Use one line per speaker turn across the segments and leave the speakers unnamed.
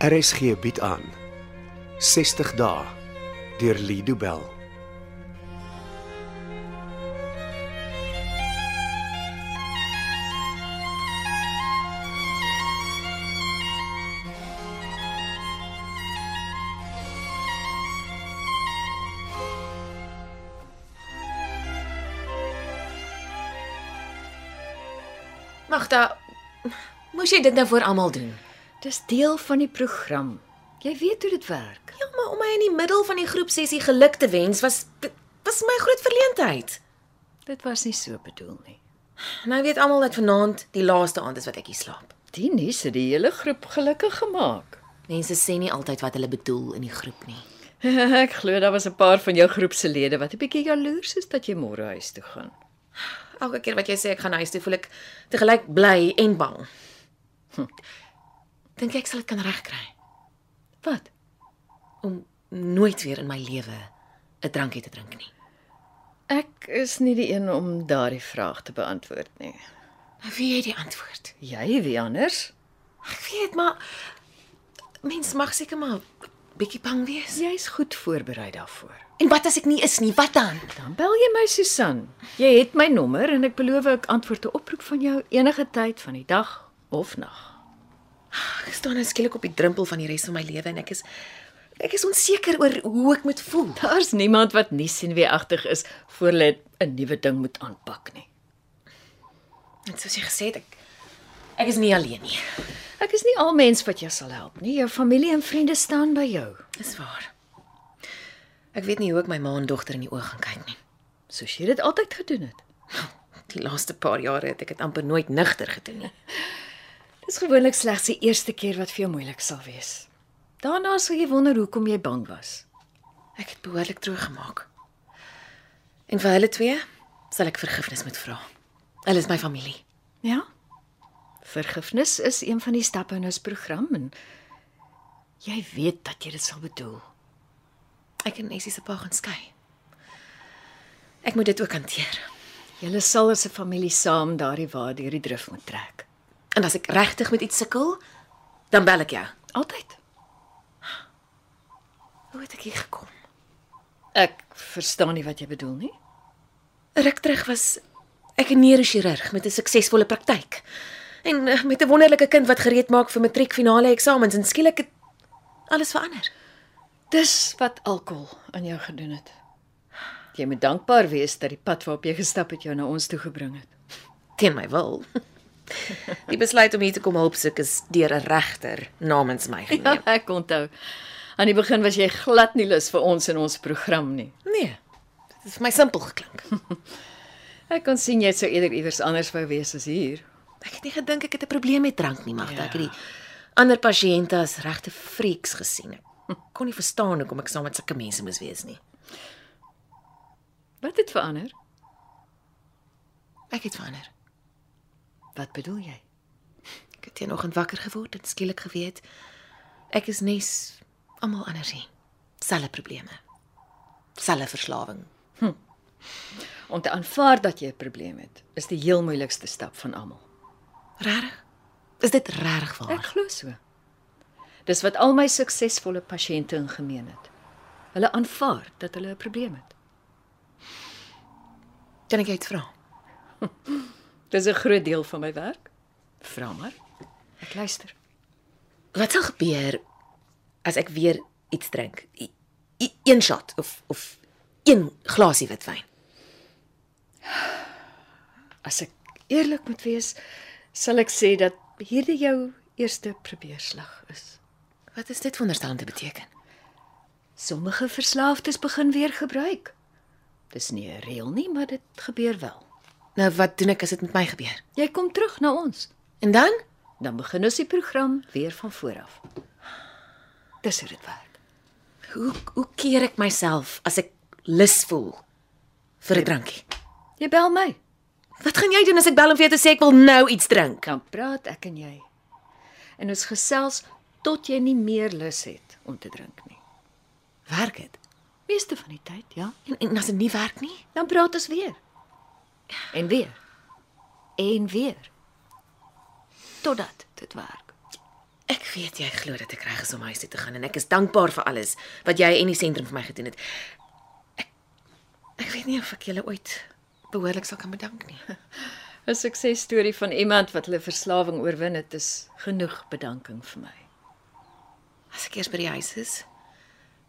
RSG bied aan 60 dae deur Lido Bell.
Magda, moes jy dit nou vir almal doen?
Dis deel van die program. Jy weet hoe dit werk.
Ja, maar om my in die middel van die groepsessie geluk te wens was dit was my groot verleentheid.
Dit was nie so bedoel nie.
Nou weet almal dat vanaand die laaste aand is wat ek hier slaap.
Die nuus het die hele groep gelukkig gemaak.
Mense sê nie altyd wat hulle bedoel in die groep nie.
Ek glo daar was 'n paar van jou groep se lede wat 'n bietjie jaloers is dat jy môre huis toe gaan.
Elke keer wat jy sê ek gaan huis toe, voel ek tegelyk bly en bang. Hm. Dink ek sal dit kan regkry
Wat?
om nooit weer in my lewe 'n drankie te drink nie.
Ek is nie die een om daardie vraag te beantwoord nie.
Nou weet jy die antwoord.
Jy wie anders?
Ek weet, maar mens mag seker maar 'n bietjie bang wees.
Jy's goed voorberei daarvoor.
En wat as ek nie is nie? Wat dan?
Dan bel jy my Susan. Jy het my nommer en ek beloof ek antwoord 'n oproep van jou enige tyd van die dag of nag.
Ek staan nou skielik op die drempel van die res van my lewe en ek is ek is onseker oor hoe ek moet voel.
Daar's niemand wat nie sienweagtig is voor hulle 'n nuwe ding moet aanpak nie.
En soos jy gesê het, ek ek is nie alleen nie.
Ek is nie al mens wat jou sal help nie. Jou familie en vriende staan by jou,
Dis waar. Ek weet nie hoe ek my ma en dogter in die oë gaan kyk nie.
soos jy dit altyd gedoen het.
Die laaste paar jare het ek dit amper nooit nigter gedoen nie.
Dis gewoonlik slegs die eerste keer wat vir jou moeilik sal wees. Daarna sal jy wonder hoekom jy bang was.
Ek het behoorlik droog gemaak. En vir hulle twee sal ek vergifnis moet vra. Hulle is my familie.
Ja? Vergifnis is een van die stappe in ons program en jy weet dat jy dit sal bedoel.
Ek en Essie se pa gaan skei. Ek moet dit ook hanteer.
Julle sal as 'n familie saam daardie waar deur die drif moet trek.
En as ek regtig met iets sukkel, dan bel ek jou.
Altyd.
Hoe het ek hier gekom?
Ek verstaan nie wat jy bedoel nie.
Ruk terug was ek 'n neurochirurg met 'n suksesvolle praktyk. En eh, met 'n wonderlike kind wat gereed maak vir matriekfinale eksamens en skielik het alles verander.
Dis wat alkohol aan jou gedoen het. Jy moet dankbaar wees dat die pad waarop jy gestap het jou na ons toe gebring het.
Teen my wil. Die besluit om hier te kom hulp soek is deur 'n regter namens my geneem.
Ja, ek onthou. Aan die begin was jy glad nie lus vir ons en ons program nie.
Nee. Dit het vir my simpel geklink.
Ek kon sien jy sou eerder iewers anders wou wees as hier.
Ek het nie gedink ek het 'n probleem met drank nie, Magda. Ek het die ander pasiënte as regte freaks gesien. Ek kon nie verstaan hoekom ek saam met sulke mense moes wees nie.
Wat het verander?
Ek het verander.
Wat bedoel jy?
Ek het teenoggend wakker geword en skielik geweet ek is nes almal anders hier. Selfe probleme. Selfe verslawing.
Om te aanvaar dat jy 'n probleem het, is die heel moeilikste stap van almal.
Regtig? Is dit regtig waar?
Ek glo so. Dis wat al my suksesvolle pasiënte in gemeen het. Hulle aanvaar dat hulle 'n probleem het.
Kan ek jou iets vra?
Dis 'n groot deel van my werk. Vra maar. Ek luister.
Wat sal gebeur as ek weer iets drink? I, i, een shot of of een glasie witwyn.
As ek eerlik moet wees, sal ek sê dat hierdie jou eerste probeerslag is.
Wat is dit veronderstel om te beteken?
Sommige verslaafdes begin weer gebruik. Dis nie 'n reël nie, maar dit gebeur wel.
Nou wat doen ek as dit met my gebeur?
Jy kom terug na ons.
En dan?
Dan begin ons die program weer van voor af. Dis hoe dit werk.
Hoe hoe keer ek myself as ek lus voel vir 'n drankie?
Jy bel my.
Wat gaan jy doen as ek bel om vir jou te sê ek wil nou iets drink?
Dan praat ek en jy. En ons gesels tot jy nie meer lus het om te drink nie.
Werk dit?
Meeste van die tyd, ja.
En, en as dit nie werk nie,
Dan praat ons weer. En weer. En weer. Totdat dit werk.
ek Ek weet jy glo dat ek reg is om huis toe te gaan en ek is dankbaar vir alles wat jy en die sentrum vir my gedoen het. Ek ek weet nie of ek julle ooit behoorlik sal kan bedank nie.
'n Suksesstorie van iemand wat hulle verslawing oorwin het, is genoeg bedanking vir my.
As ek eers by die huis is,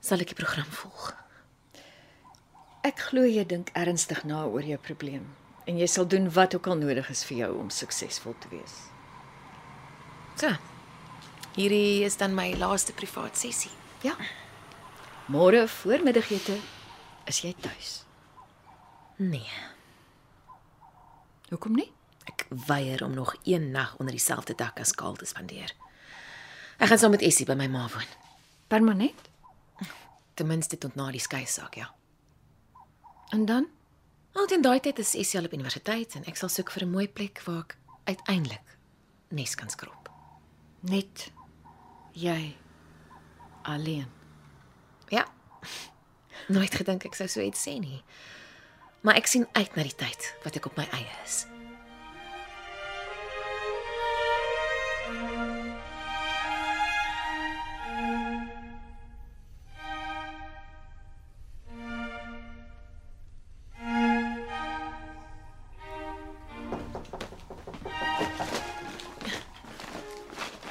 sal ek die program volg.
Ek glo jy dink ernstig na oor jou probleem en jy sal doen wat ook al nodig is vir jou om suksesvol te wees.
So. Hierdie is dan my laaste privaat sessie.
Ja. Môre voormiddagete is jy tuis.
Nee,
Hoekom nie?
ek weier om nog een nag onder dieselfde dak as Kaal te spandeer. Ek gaan saam met Essie by my ma woon.
Permanent?
Ten minste tot na die skei saak, ja.
En dan?
Al teen daai tyd is Essie al op universiteit en ek sal soek vir 'n mooi plek waar ek uiteindelik nes kan skrop.
Net jy alleen.
Ja. Nooit gedink ek sou so iets sê nie. Maar ek sien uit na die tyd wat ek op my eie is.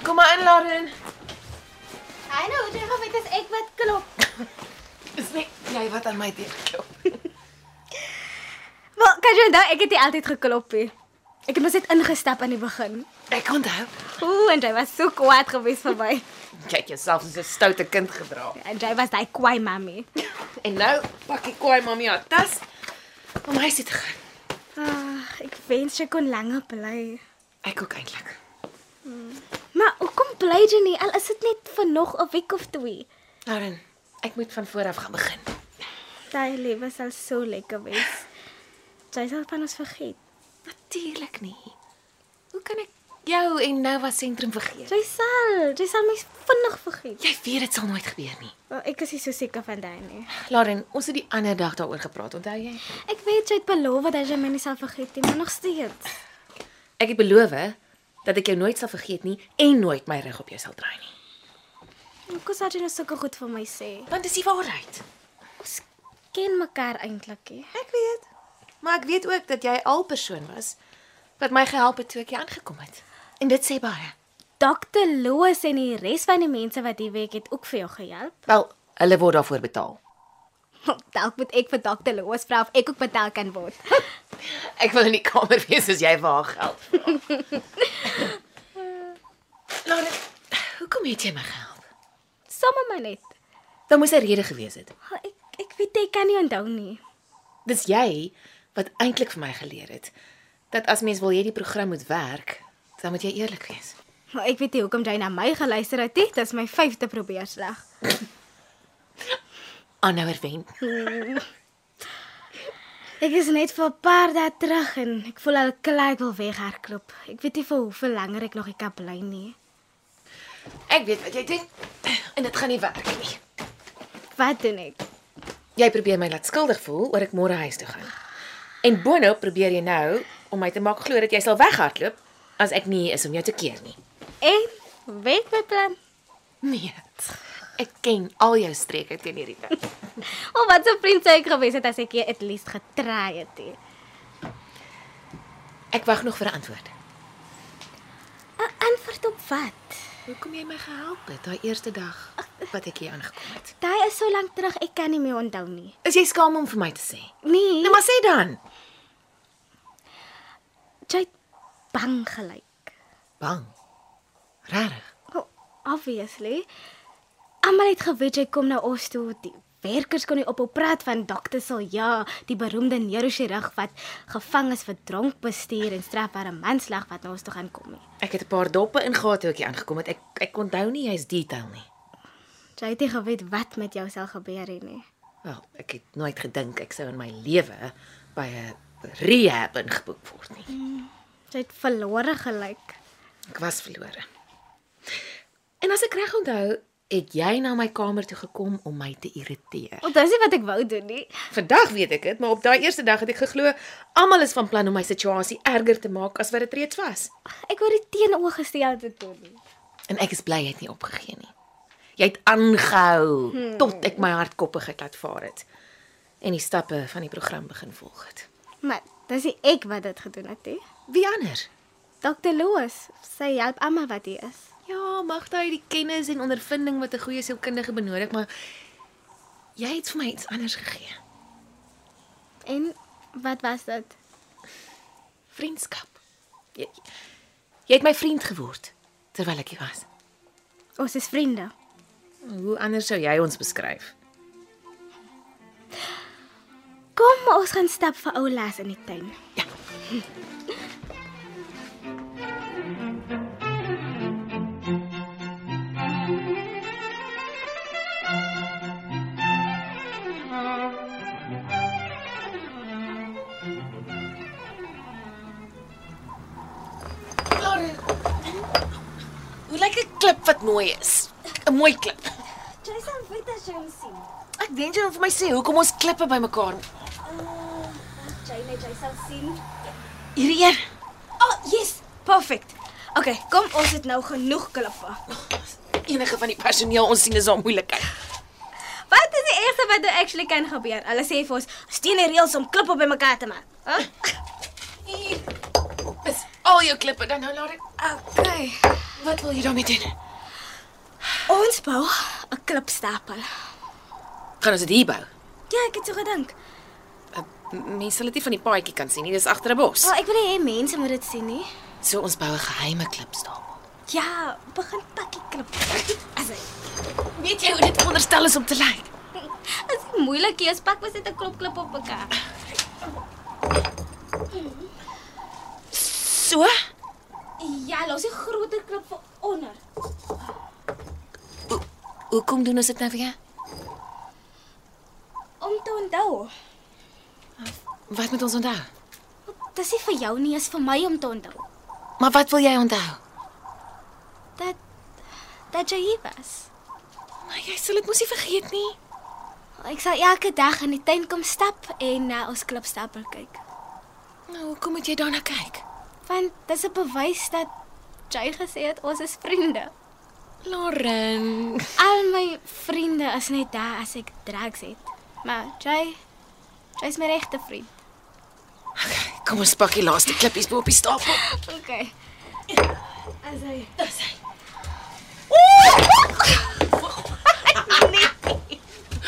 Kom maar in, Lauren.
Hy nou hoe dit geweet is ek wat klop.
Dis net jy wat aan my deur klop.
Wel, kan jy onthou ek het nie altyd geklop nie. Ek het mos net ingestap aan die begin.
Ek onthou.
Ooh, en jy was so kwaad geweest vir my.
Jy het jouself soos 'n stoute kind gedra.
En jy was daai kwaai mami.
En nou pak ek kwaai mamma haar tas om huis toe te gaan.
Ag, Ah, ek wens jy kon langer bly.
Ek ook eintlik.
Maar hoekom bly jy nie? Al is dit net vir nog 'n week of twee.
Lauren, ek moet van voor af gaan begin.
Daai lewe sal so lekker wees. Jy sal van ons vergeet.
Natuurlik nie. Hoe kan ek jou en Nova sentrum vergeet?
Jy sal, jy sal my vinnig vergeet.
Jy weet dit sal nooit gebeur nie.
Wel, ek is nie so seker van daai nie.
Lauren, ons het die ander dag daaroor gepraat, onthou jy?
Ek weet jy het beloof dat jy my nie sal vergeet nie, maar nog steeds.
Ek het beloof dat ek jou nooit sal vergeet nie en nooit my rug op jou sal draai nie.
Hoekom sê jy nou sulke goed vir my sê?
Want dis die waarheid.
Ons ken mekaar eintlik nie.
Ek weet. Maar ek weet ook dat jy al persoon was wat my gehelp het toe ek hier aangekom het. En dit sê baie.
Dr. Loos en die res van die mense wat die week het ook vir jou gehelp.
Wel, hulle word daarvoor betaal.
Dalk moet ek vir Dr. Loos vra of ek ook betaal kan word.
Ek wil in die kamer wees as jy vir haar geld vra. Lorne, hoekom het jy my gehelp?
Sommige my net.
Daar moes 'n rede gewees het.
Maar Ek ek weet ek kan nie onthou nie.
Dis jy wat eintlik vir my geleer het dat as mens wil hierdie program moet werk, dan moet jy eerlik wees.
Maar ek weet nie hoekom jy na my geluister het nie. Dis my vyfde probeerslag.
Aanhouer wen.
Ek is net vir 'n paar dae terug en ek voel al klaar ek wil weghardloop. Ek weet nie vir hoe veel langer ek nog hier kan bly nie.
Ek weet wat jy doen en dit gaan nie werk nie.
Wat doen ek?
Jy probeer my laat skuldig voel oor ek môre huis toe gaan. En boonop probeer jy nou om my te maak glo dat jy sal weghardloop as ek nie is om jou te keer nie.
En weet my plan.
Nee. Ek ken al jou streke teen hierdie tyd.
Of wat 'n vriend sou ek gewees het as ek hier at least getry het. He.
Ek wag nog vir 'n antwoord.
'n Antwoord op wat?
Hoekom jy my gehelp het daai eerste dag wat ek hier aangekom het?
Daai is so lank terug, ek kan nie meer onthou nie.
Is jy skaam om vir my te sê?
Nee,
Nou maar sê dan.
jy het bang gelyk.
Bang. Rarig.
Oh, obviously. Almal het geweet jy kom na ons toe. Die werkers kon nie ophou praat van dokter Silja, die beroemde neurochirurg wat gevang is vir dronk bestuur en strafbare manslag wat na ons toe gaan kom nie.
Ek het 'n paar doppe ingehaat toe ek hier aangekom het. Ek ek onthou nie jy's detail nie.
Jy het nie geweet wat met jou sal gebeur het nie.
Wel, ek het nooit gedink ek sou in my lewe by 'n rehab ingeboek word nie.
Jy het verlore gelyk.
Ek was verlore. En as ek reg onthou, het jy na my kamer toe gekom om my te irriteer.
Want dis nie wat ek wou doen nie.
Vandag weet ek dit, maar op daai eerste dag het ek geglo almal is van plan om my situasie erger te maak as wat dit reeds was.
Ek wou die teenoor gestel te doen.
En ek is bly jy het nie opgegee nie. Jy het aangehou hmm. tot ek my hardkoppigheid laat vaar het en die stappe van die program begin volg het.
Maar dis nie ek wat dit gedoen het nie.
Wie anders?
Dr. Loos, sy help almal wat hier is.
Ja, mag hy die kennis en ondervinding wat 'n goeie sielkundige benodig, maar jy het vir my iets anders gegee.
En wat was dit?
Vriendskap. Jy, jy het my vriend geword terwyl ek hier was.
Ons is vriende.
Hoe anders sou jy ons beskryf?
Kom, ons gaan stap vir ou Las in die tuin.
Hoe lyk 'n klip wat mooi is? 'n Mooi klip.
Jason weet as jy hom sien.
Ek dink jy moet vir my sê hoekom ons klippe bymekaar.
Jy net Ah, jy sal sien.
Hierdie een.
Oh, yes, perfect. Okay, kom ons het nou genoeg klippe.
Enige van die personeel ons sien is daar moeilikheid.
Wat is die eerste wat nou actually kan gebeur? Hulle sê vir ons, "Steen die reëls om klippe bymekaar te maak." Hæ?
Hier is al jou klippe dan nou laat ek.
Okay.
Wat wil jy daarmee doen?
Ons bou 'n klipstapel.
Gaan ons dit hier bou?
Ja, ek het so gedink.
M- Mense sal dit nie van die paadjie kan sien nie, dis agter 'n bos.
Wel, Ah, ek wil nie hê mense moet dit sien nie.
So ons bou 'n geheime klipstapel.
Ja, begin pakkie klip. As hy
Weet jy hoe dit veronderstel is om te lyk?
As dit moeilik is, pak was dit 'n klop klip op mekaar.
So?
Ja, los die groter klip vir onder.
Hoekom doen ons dit nou weer?
Om te onthou.
Wat moet ons onthou?
Dis nie vir jou nie, is vir my om te onthou.
Maar wat wil jy onthou?
Dat dat jy hier was.
Maar jy sal dit mos nie vergeet nie.
Ek sal elke dag in die tuin kom stap en na ons klipstapel kyk.
Nou, hoekom moet jy daarna kyk?
Want dis 'n bewys dat jy gesê het ons is vriende.
Lauren.
Al my vriende is net daar as ek drugs het. Maar jy jy's my regte vriend.
Kom ons pak die laaste klippies bo op die stapel.
Okay. As hy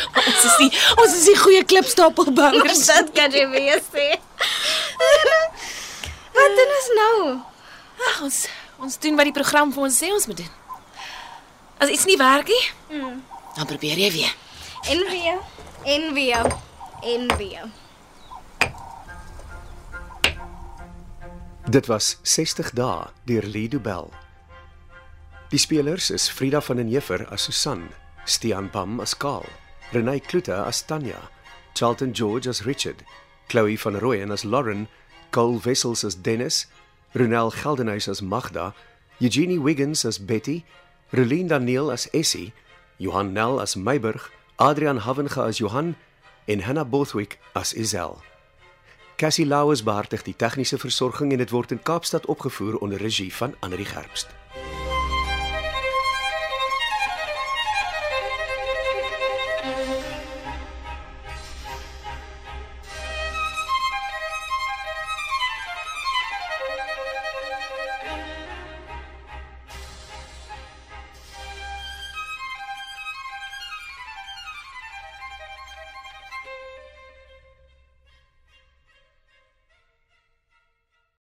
Ons is die ons is die goeie klipstapelbouers.
Dit kan jy weer sê. Wat doen ons nou?
Ag, ons ons doen wat die program vir ons sê ons moet doen. As iets nie werk nie, Hmm. dan probeer jy weer.
En weer, en weer, en weer.
Dit was 60 dae deur Lido Bell. Die spelers is Frida van den Heever as Susan, Stean Pam as Karl, Renai Klute as Tanya, Charlton George as Richard, Chloe van Rooyen as Lauren, Cole Wessels as Dennis, Ronel Geldenhuys as Magda, Eugenie Wiggins as Betty, Relien Daniel as Essie, Johan Nel as Meiburg, Adrian Havenga as Johan en Hannah Bothwick as Isel. Cassie Lauers behartig die tegniese versorging en dit word in Kaapstad opgevoer onder regie van Anri Gerbst.